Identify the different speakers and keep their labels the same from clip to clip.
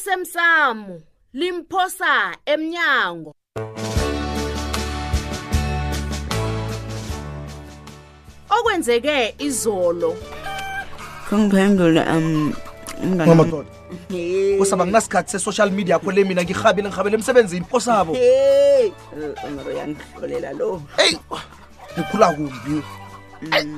Speaker 1: osemsamo limphosa emnyango okwenzeke izolo
Speaker 2: kungiphendula um umngani wami.
Speaker 3: mamadoda osaba nginasikhathi se-social media yakho le mina ngihabile ngihabele emsebenzini osabo
Speaker 2: Hey, eh, umro uyangihlolela lo
Speaker 3: eyi ngikhula kumbi Ayi,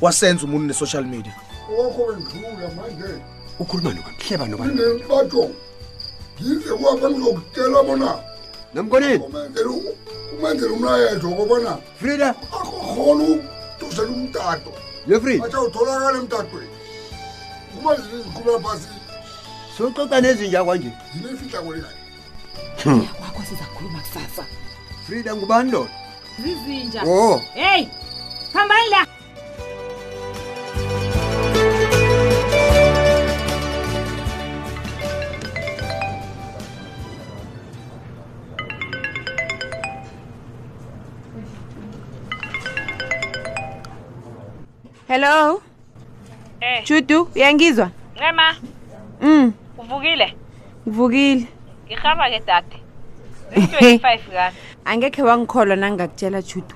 Speaker 3: wasenza umuntu ne-social media
Speaker 4: okho wendlula manje
Speaker 5: ukhuluma nobani hleba nobani
Speaker 4: nginembatho ngize kwapha ngizokutela bona
Speaker 5: nomkoneni
Speaker 4: umenzele u- umenzele umlayezo wokobona
Speaker 5: frida
Speaker 4: akhona ukuduzela umtato
Speaker 5: yo frida
Speaker 4: atsha utholakala emtatweni kuba zizikhulula phasi
Speaker 5: soxoxa nezinja kwanje
Speaker 4: zinefihla kolekayo
Speaker 6: kwakho sizakhuluma kusasa
Speaker 5: frida ngubani lona
Speaker 6: zizinja
Speaker 5: o
Speaker 6: heyi hambani la
Speaker 2: hello
Speaker 7: Eh.
Speaker 2: judu uyangizwa
Speaker 7: ncema
Speaker 2: um
Speaker 7: uvukile
Speaker 2: ngivukile
Speaker 7: ngihamba ke dade zi-twenty-five kani
Speaker 2: angekhe wangikholwa nangingakutshela judu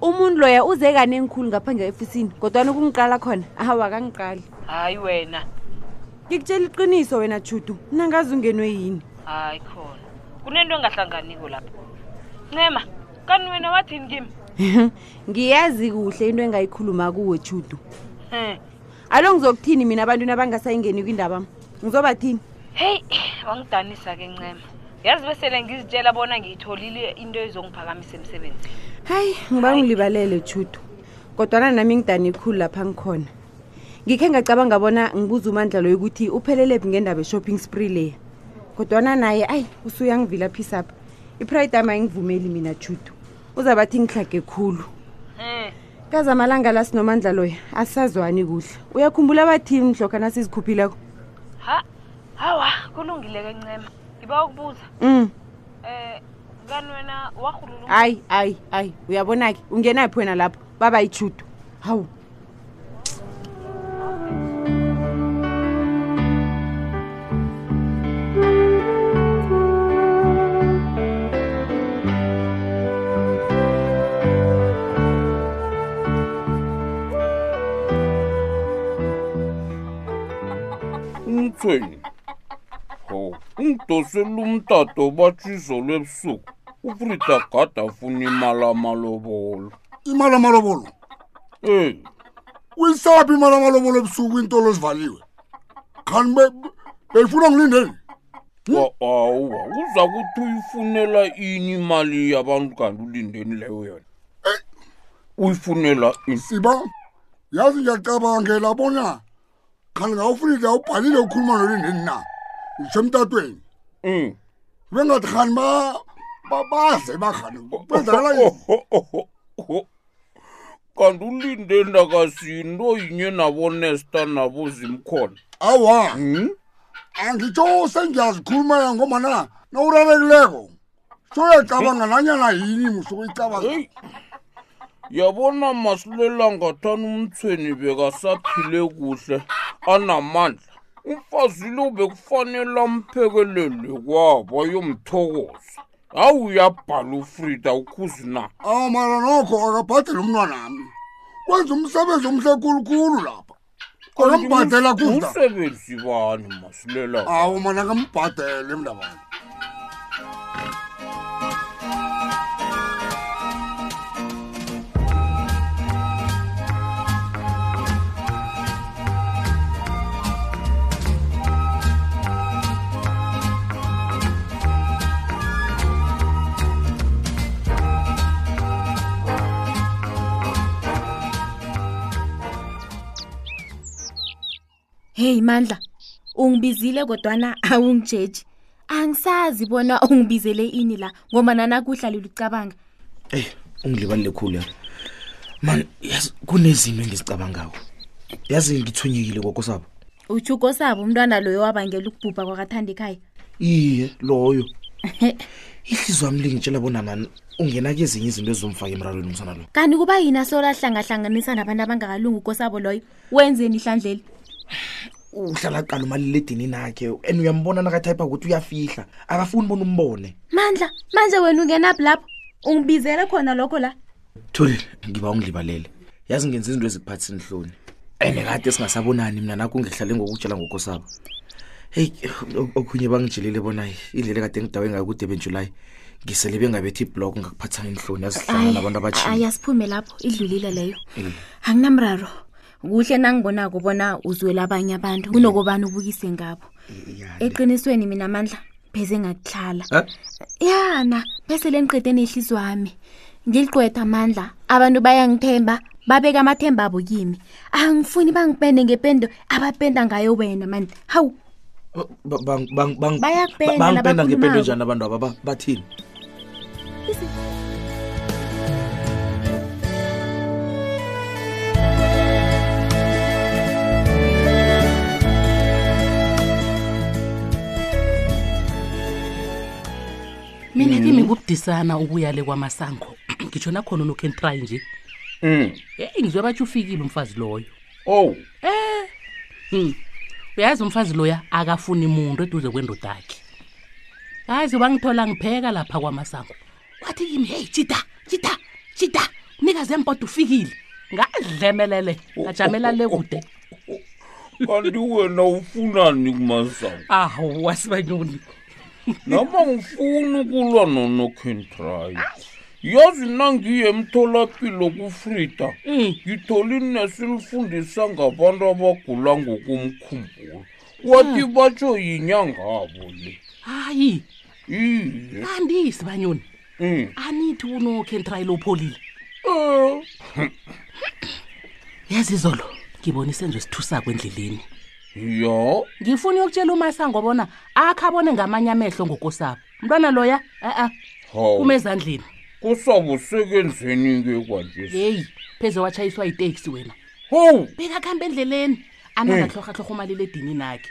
Speaker 2: umuntu loya uze kanengikhulu ngapha nge-efisini kodwana ukungiqala khona awa kangiqali
Speaker 7: hayi wena
Speaker 2: ngikutshela iqiniso wena judu mna ngazi ungenwe yini
Speaker 7: hayi khona kunento engahlanganiko lapho ncema kani wena wathini kimi
Speaker 2: ngiyazi kuhle into engayikhuluma kuwe judu
Speaker 7: Hmm.
Speaker 2: alo ngizokuthini mina abantwini abangasayingeni kwindaba m ngizobathini
Speaker 7: heyi wangidanisa ke ncema yazi besele ngizitshela bona ngiyitholile into ezongiphakamisa emsebenzini
Speaker 2: hayi ngiba ngilibalele judu kodwana nami ngidane khulu lapha ngikhona ngikhe ngacabanga bona ngibuza umandla loyo ukuthi uphelelephi ngendaba ye-shopping spree leya kodwana naye ayi usuyangivilaphisa pha ipride ami ayingivumeli mina judu uzabathi ngihlage khulu
Speaker 7: Hmm.
Speaker 2: kazi amalanga la sinomandla loya asisazwani kuhle uyakhumbula bathini mhlokha nasizikhuphileko
Speaker 7: ha hawa kulungile ke ncema ngiba ukubuza
Speaker 2: um
Speaker 7: um kani wena warhulula
Speaker 2: hayi hayi hayi uyabona ke ungenaphi wena lapho baba ijudu hawu
Speaker 8: umthweni ho ungidosela umtato batshiso lwebusuku ufrida gada afuna imali amalobolo
Speaker 4: imali amalobolo
Speaker 8: eyi
Speaker 4: uyisaphi imali amalobolo ebusuku iintolo zivaliwe khani beyifuna ngilindeni
Speaker 8: awuwa uza kuthi uyifunela ini imali yabantu kanti ulindeni leyo yona uyifunela ini
Speaker 4: siba yazi ngiyacabangela bona khani ngawufunile awubhalile ukukhuluma nolindeni na ngisemtatweni
Speaker 8: Mm.
Speaker 4: bengathi khani ba- ba- baze bakhani kwenzakala yini?
Speaker 8: Ohohohoho. kanti ulindeni akasinto yinye nabonesta nabo zimkhona
Speaker 4: awa
Speaker 8: Mm?
Speaker 4: angitsho sengiyazikhulumela ngoma na nawuralekileko soyacabanga nanyana yini musukuyicabanga
Speaker 8: heyi yabona masilelangathani umthweni bekasaphile kuhle anamandla umfazi lo bekufanele amphekelele kwabo yomthokozo hawu uyabhala ufrida ukhuzi na
Speaker 4: awa mara nokho akabhadele umntwanami kwenza umsebenzi omhle khulukhulu lapha akambhadela kuza
Speaker 8: umsebenzi bani masilela
Speaker 4: awu mana kambhadele mndabani
Speaker 9: heyi mandla ungibizile kodwana awungijeji angisazi bona ungibizele ini la ngoba nanakuhlalela ucabanga
Speaker 10: eyi ungilibalule khulu yami mani yazi kunezimo engizicabangako yazi ngithunyekile kokosabo
Speaker 9: ujugo sabo umntwana loyo wabangela ukubhubha kwakathanda ekhaya
Speaker 10: iye loyo ihliziyo wami lingitshela bona mani ungena kezinye izinto ezizomfaka emrarweni umsana lo
Speaker 9: kanti kuba yini asolwahlangahlanganisa nabantu abangakalungi ukosabo loyo wenzeni ihlandleli
Speaker 10: uhlala qala umaliledinini akhe and uyambona nakathayipha ukuthi uyafihla akafuni bona umbone
Speaker 9: mandla manje wena ungenaphi lapho ungibizele khona lokho la
Speaker 10: thulile ngiba ungilibalele yazi ngenza izinto ezikuphathisini hloni and kade singasabonani mina nakho ngihlale ngokutshela ngokosabo heyi ok- okhunye bangijelile bona indlela kade ngidawe ngayo kude benjulayi ngisele bengabethi iblok ngakuphathana inhloni yazihlangana nabantu abatshile
Speaker 9: ayasiphume lapho idlulile leyo anginamraro kuhle nangibonako bona uzwela abanye abantu kunokobani ubukise ngabo eqinisweni mina amandla pheze ngakuhlala yana bese le ngiqede nehlizwe wami ngiliqwetha amandla abantu bayangithemba babeka amathemba abo kimi angifuni bangipende ngependo abapenda ngayo wena mani hawu Bayakupenda
Speaker 10: bangipenda ngependo
Speaker 9: nabakhulumako.
Speaker 10: njani abantu aba Ba- bathini
Speaker 11: mina kimi ngubudisana ukuyale kwamasango ngitsho nakhona unokhe nitry nje
Speaker 8: um
Speaker 11: yeyi ngizwe batsho ufikile umfazi loyo
Speaker 8: owu
Speaker 11: eh mm. uyazi umfazi loya akafuni muntu eduze kwendoda akhe hazi wangithola ngipheka lapha kwamasango wathi kimi heyi jida jida jida nikaze empoda ufikile ngadlemelele ngajamela le kude
Speaker 8: kanti wena ufunani kumasango
Speaker 11: awu wasibanyoni
Speaker 8: noma ngifuni ukulwa nonokentry yazi nangiye emtholapilo kufrida
Speaker 11: Eh,
Speaker 8: ngithole inesi lifundisa ngabantu abagula ngokomkhumbulo wathi batsho yinyangabo le
Speaker 11: hayi
Speaker 8: iye
Speaker 11: andisi banyoni
Speaker 8: Mm.
Speaker 11: anithi unokhe ntrayile upholile
Speaker 8: Eh,
Speaker 11: yazi izolo ngibona isenzo esithusako endleleni
Speaker 8: ya
Speaker 11: ngifuna uyokutshela umasango bona akhe abone ngamanye amehlo ngokosabo mntwana loya a-a
Speaker 8: hawu
Speaker 11: kuma ezandleni
Speaker 8: kusabo sekenzeni-ke kwanje
Speaker 11: heyi pheze watshayiswa yiteksi wena
Speaker 8: howu
Speaker 11: bekakuhamba endleleni
Speaker 8: Mm.
Speaker 11: anakahlohahlorha umaliledini nakhe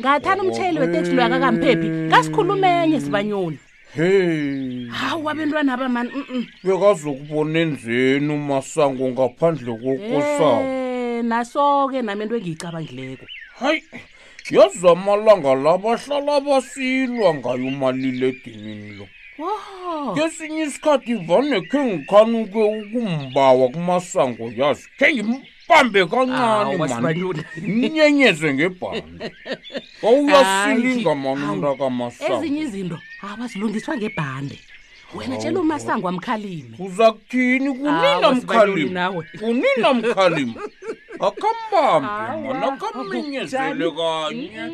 Speaker 11: ngathanda
Speaker 8: Yabo,
Speaker 11: umtshayeli weteksi loyo akakamphephi
Speaker 8: hey.
Speaker 11: ngasikhuluma enye sibanyoni
Speaker 8: he
Speaker 11: hawu abentwana abamani mm
Speaker 8: bekazokubona enzeni umasango ngaphandle kokosabo
Speaker 11: Eh, naso-ke nami into engiyicabangileko
Speaker 8: hayi yazi amalanga la bahlala basilwa ngayo umaliledinini lo
Speaker 11: wo
Speaker 8: kesinye isikhathi vane khe ngikhanuke ukumbawa kumasango yazi khe ngimbambe kancane
Speaker 11: Awu, wasibanyoni.
Speaker 8: nyenyeze ngebhande wawuyasilinga manunda kamasango
Speaker 11: ezinye izinto abazilungiswa ngebhande wena
Speaker 8: Hawu,
Speaker 11: tshela umasango amkhalime
Speaker 8: uza
Speaker 11: Ah,
Speaker 8: kuthini kunina mkhalima kunina mkhalima akambambe mana akamminyezele kanye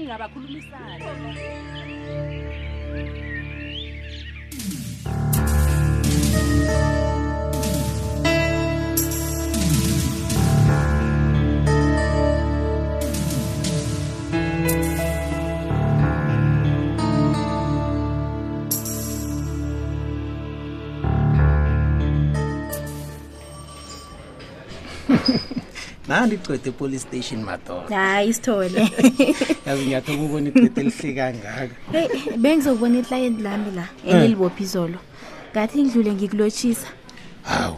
Speaker 12: nandi igcwethe epolice station madoda
Speaker 9: hayi isithole
Speaker 12: yazi ngiyathoka ukubona igcwethe elihle kangaka
Speaker 9: heyi bengizokubona iklayenti lami la elilibopha izolo ngathi ngidlule ngikulotshisa
Speaker 12: hawu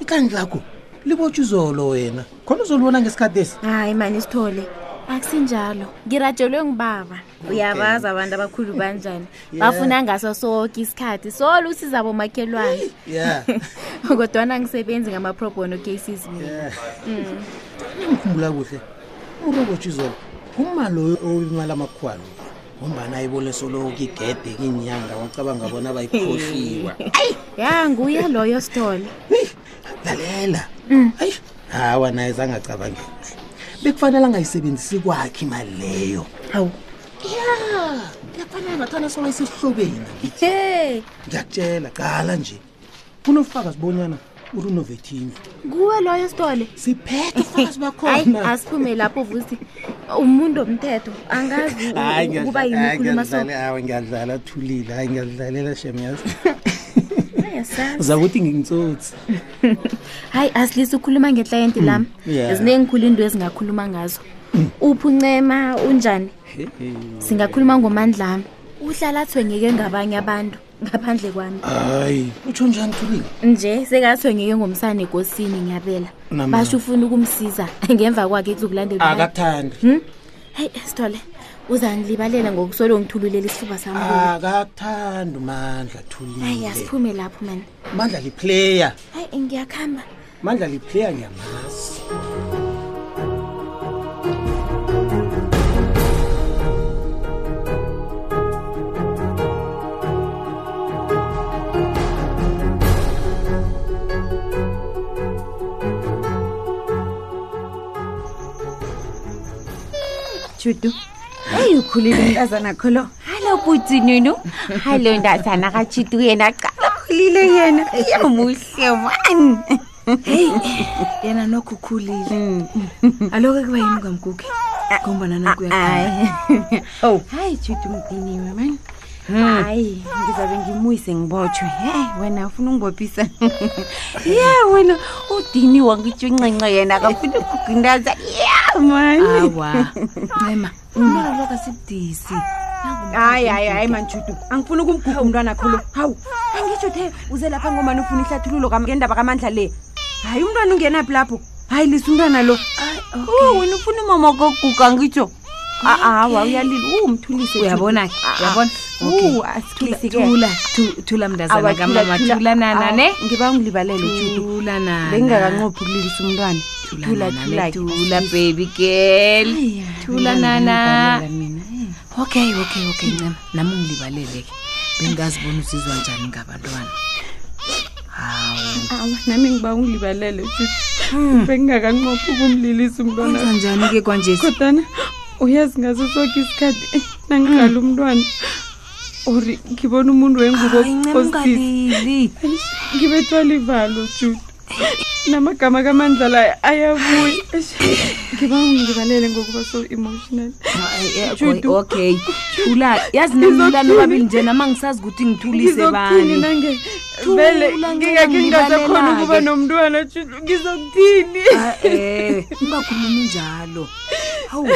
Speaker 12: ikhanti lakho libotshwa izolo wena khona uzolibona ngesikhathi esi
Speaker 9: hayi mani isithole akusinjalo ngirajelwe ngubaba uyabazi abantu abakhulu banjani
Speaker 12: Yeah.
Speaker 9: bafuna ngaso soke isikhathi solo usizabo makhelwane
Speaker 12: ya
Speaker 9: kodwana ngisebenzi ngama-probono cases mina Mm.
Speaker 12: ngikhumbula kuhle urobotshwa izolo nguma loyo owimali amakhwalo ngombana ayibone soloko igede kinyanga wacabanga bona bayikhohliwa
Speaker 9: ya nguye loyo sithole
Speaker 12: lalela hawa naye zangacabangi kuhle bekufanele angayisebenzisi kwakhe imali leyo
Speaker 9: hawu
Speaker 12: ya kuyafanele ngathana solo isesihlobeni
Speaker 9: he
Speaker 12: ngiyakutshela qala nje kunofakazi bonyana urinovete indlu
Speaker 9: kuwe loyo sithole
Speaker 12: siphethe ufakazi
Speaker 9: bakhona asiphume lapho vusi umuntu omthetho angazi u- u- ukuba yini ukhuluma so
Speaker 12: hayi ngiyadlala athulile hayi ngiyadlalela shem yazi
Speaker 9: Ayasazi.
Speaker 12: zakuthi ngingitsotsi
Speaker 9: hayi asilisa ukhuluma ngeklayenti
Speaker 12: Mm,
Speaker 9: lami
Speaker 12: yeah.
Speaker 9: zinengikhulu into ezingakhuluma ngazo uphi uncema unjani singakhuluma ngomandla ami uhlala athwengeke ngabanye abantu ngaphandle kwami
Speaker 12: hayi utsho njani thulile
Speaker 9: nje sekathwengeke ngomsana ekosini ngiyabela
Speaker 12: Nama.
Speaker 9: basho ufuna ukumsiza ngemva kwakhe kuzokulandela
Speaker 12: akakuthandi
Speaker 9: heyi sithole uzangilibalela ngokusolo ngithululela isifuba sami
Speaker 12: Ah, akakuthandi umandla
Speaker 9: hayi
Speaker 12: thulile
Speaker 9: asiphume lapho mani
Speaker 12: mandla liplayer
Speaker 9: hayi ngiyakuhamba
Speaker 12: mandla liplayer ngiyamazi
Speaker 2: judu eyi ukhulile umntazana kho lo
Speaker 13: Hello Buti Nunu. Hello ndazana ka Chitu yena cha.
Speaker 2: ukhulile yena
Speaker 13: Yamuhle man.
Speaker 9: heyi yena nokho ukhulile
Speaker 13: Mm.
Speaker 9: aloku kuba yini kwamgukhe ngombana nokho
Speaker 13: Ah,
Speaker 9: uyakhamba
Speaker 13: Oh.
Speaker 2: ow hayi judu mdiniwe mani
Speaker 13: Hmm.
Speaker 2: hayi ngizabe ngimuyise ngibotshwe heyi wena ufuna ungibophisa
Speaker 13: Ya wena udiniwe ngitsho inxenxe yena kafuna ukugindaza. Ya man.
Speaker 2: Ah, Awa.
Speaker 13: Mama.
Speaker 2: umntwana kasibudisi hayi hayi hayi manjudu angifuni ukumguga umntwana kholo hawu angitsho the uze lapha ngomani ufuna ihlathululo kam- ngendaba kamandla le hayi umntwana ungenaphi lapho hayi lisa umntwana lo
Speaker 13: Oh wena ufuna mama kokuguga ngitsho.
Speaker 2: awa uyalila umthulise
Speaker 13: Uyabona ke, uyabona?
Speaker 2: u asikhulisi
Speaker 13: Thula, thu- thula mntazana kamama, thula nana ne.
Speaker 2: ngiba ungilibalele judu
Speaker 13: Thula nana.
Speaker 2: bengingakanqophi ukulilisa umntwana
Speaker 13: Thula
Speaker 2: thula
Speaker 13: nana,
Speaker 2: ke.
Speaker 13: thula baby girl. Thula nana.
Speaker 6: okay okay okay ncema nami ungilibalele ke bengazibona usizwa njani ngabantwana
Speaker 2: awa nami ngiba ungilibalele judu bengingakanqophi ukumlilisa umntwana
Speaker 6: Kwenza njani ke kwanje?
Speaker 2: kodwana uyazi ngaso soke isikhathi eh, nangiqala umntwana ori ngibona umuntu wengubo
Speaker 13: ungalili
Speaker 2: ngibethwa livalo judu namagama kamandla la ayabuya Eish, ngiba ungilibalele ngokuba so emotional Judu.
Speaker 13: eh, okay thula yazi namlani
Speaker 2: Ngizokuthini?
Speaker 13: obabili nje nama ngisazi ukuthi ngithulise
Speaker 2: ngizokuthini
Speaker 13: bani
Speaker 2: nange
Speaker 13: Thula,
Speaker 2: vele
Speaker 13: ncema,
Speaker 2: ngingake ngingasakhona
Speaker 13: ngilibalelake.
Speaker 2: ukuba nomntwana judu ngizokuthini
Speaker 13: eh ungakhulumi njalo hawu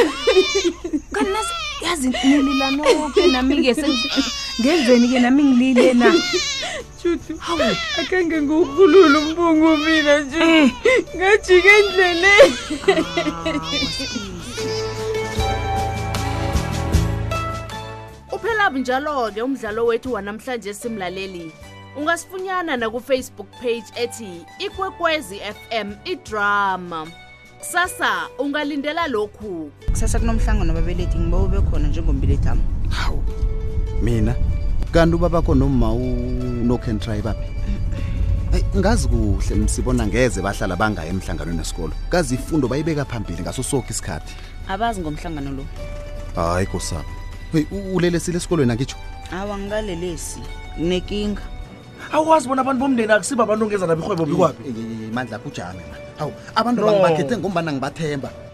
Speaker 13: kanti nasi yazi nilila noke nami-ke sengi- ngenzeni-ke nami ngilile na
Speaker 2: judu hawu akange ngiwukhulule umbungu mina judu ngajika endleleni
Speaker 1: uphela bunjalo-ke umdlalo wethu wanamhlanje simlaleli ungasifunyana nakufacebook page ethi ikwekwezi fm idrama kusasa ungalindela lokhu
Speaker 14: kusasa kunomhlangano wababelethi ngiba ube khona njengombelethi ami hawu
Speaker 15: mina kanti ubabakho noma unokentry baphi Ayi, ngazi kuhle nisibona ngeze bahlala bangaya emhlanganweni esikolo kazi ifundo bayibeka phambili ngaso soke isikhathi
Speaker 14: abazi ngomhlangano lo
Speaker 15: hayi kosabo heyi u- ulelesile esikolweni akitsho
Speaker 14: awu angikalelesi nekinga
Speaker 10: awukwazi bona abantu bomndeni
Speaker 12: Eh,
Speaker 10: akusiba abantu ongeza nabo irhwebo bikwaphi
Speaker 15: mandla kujame hawu abantu no. bangibakhethe ngombana ngibathemba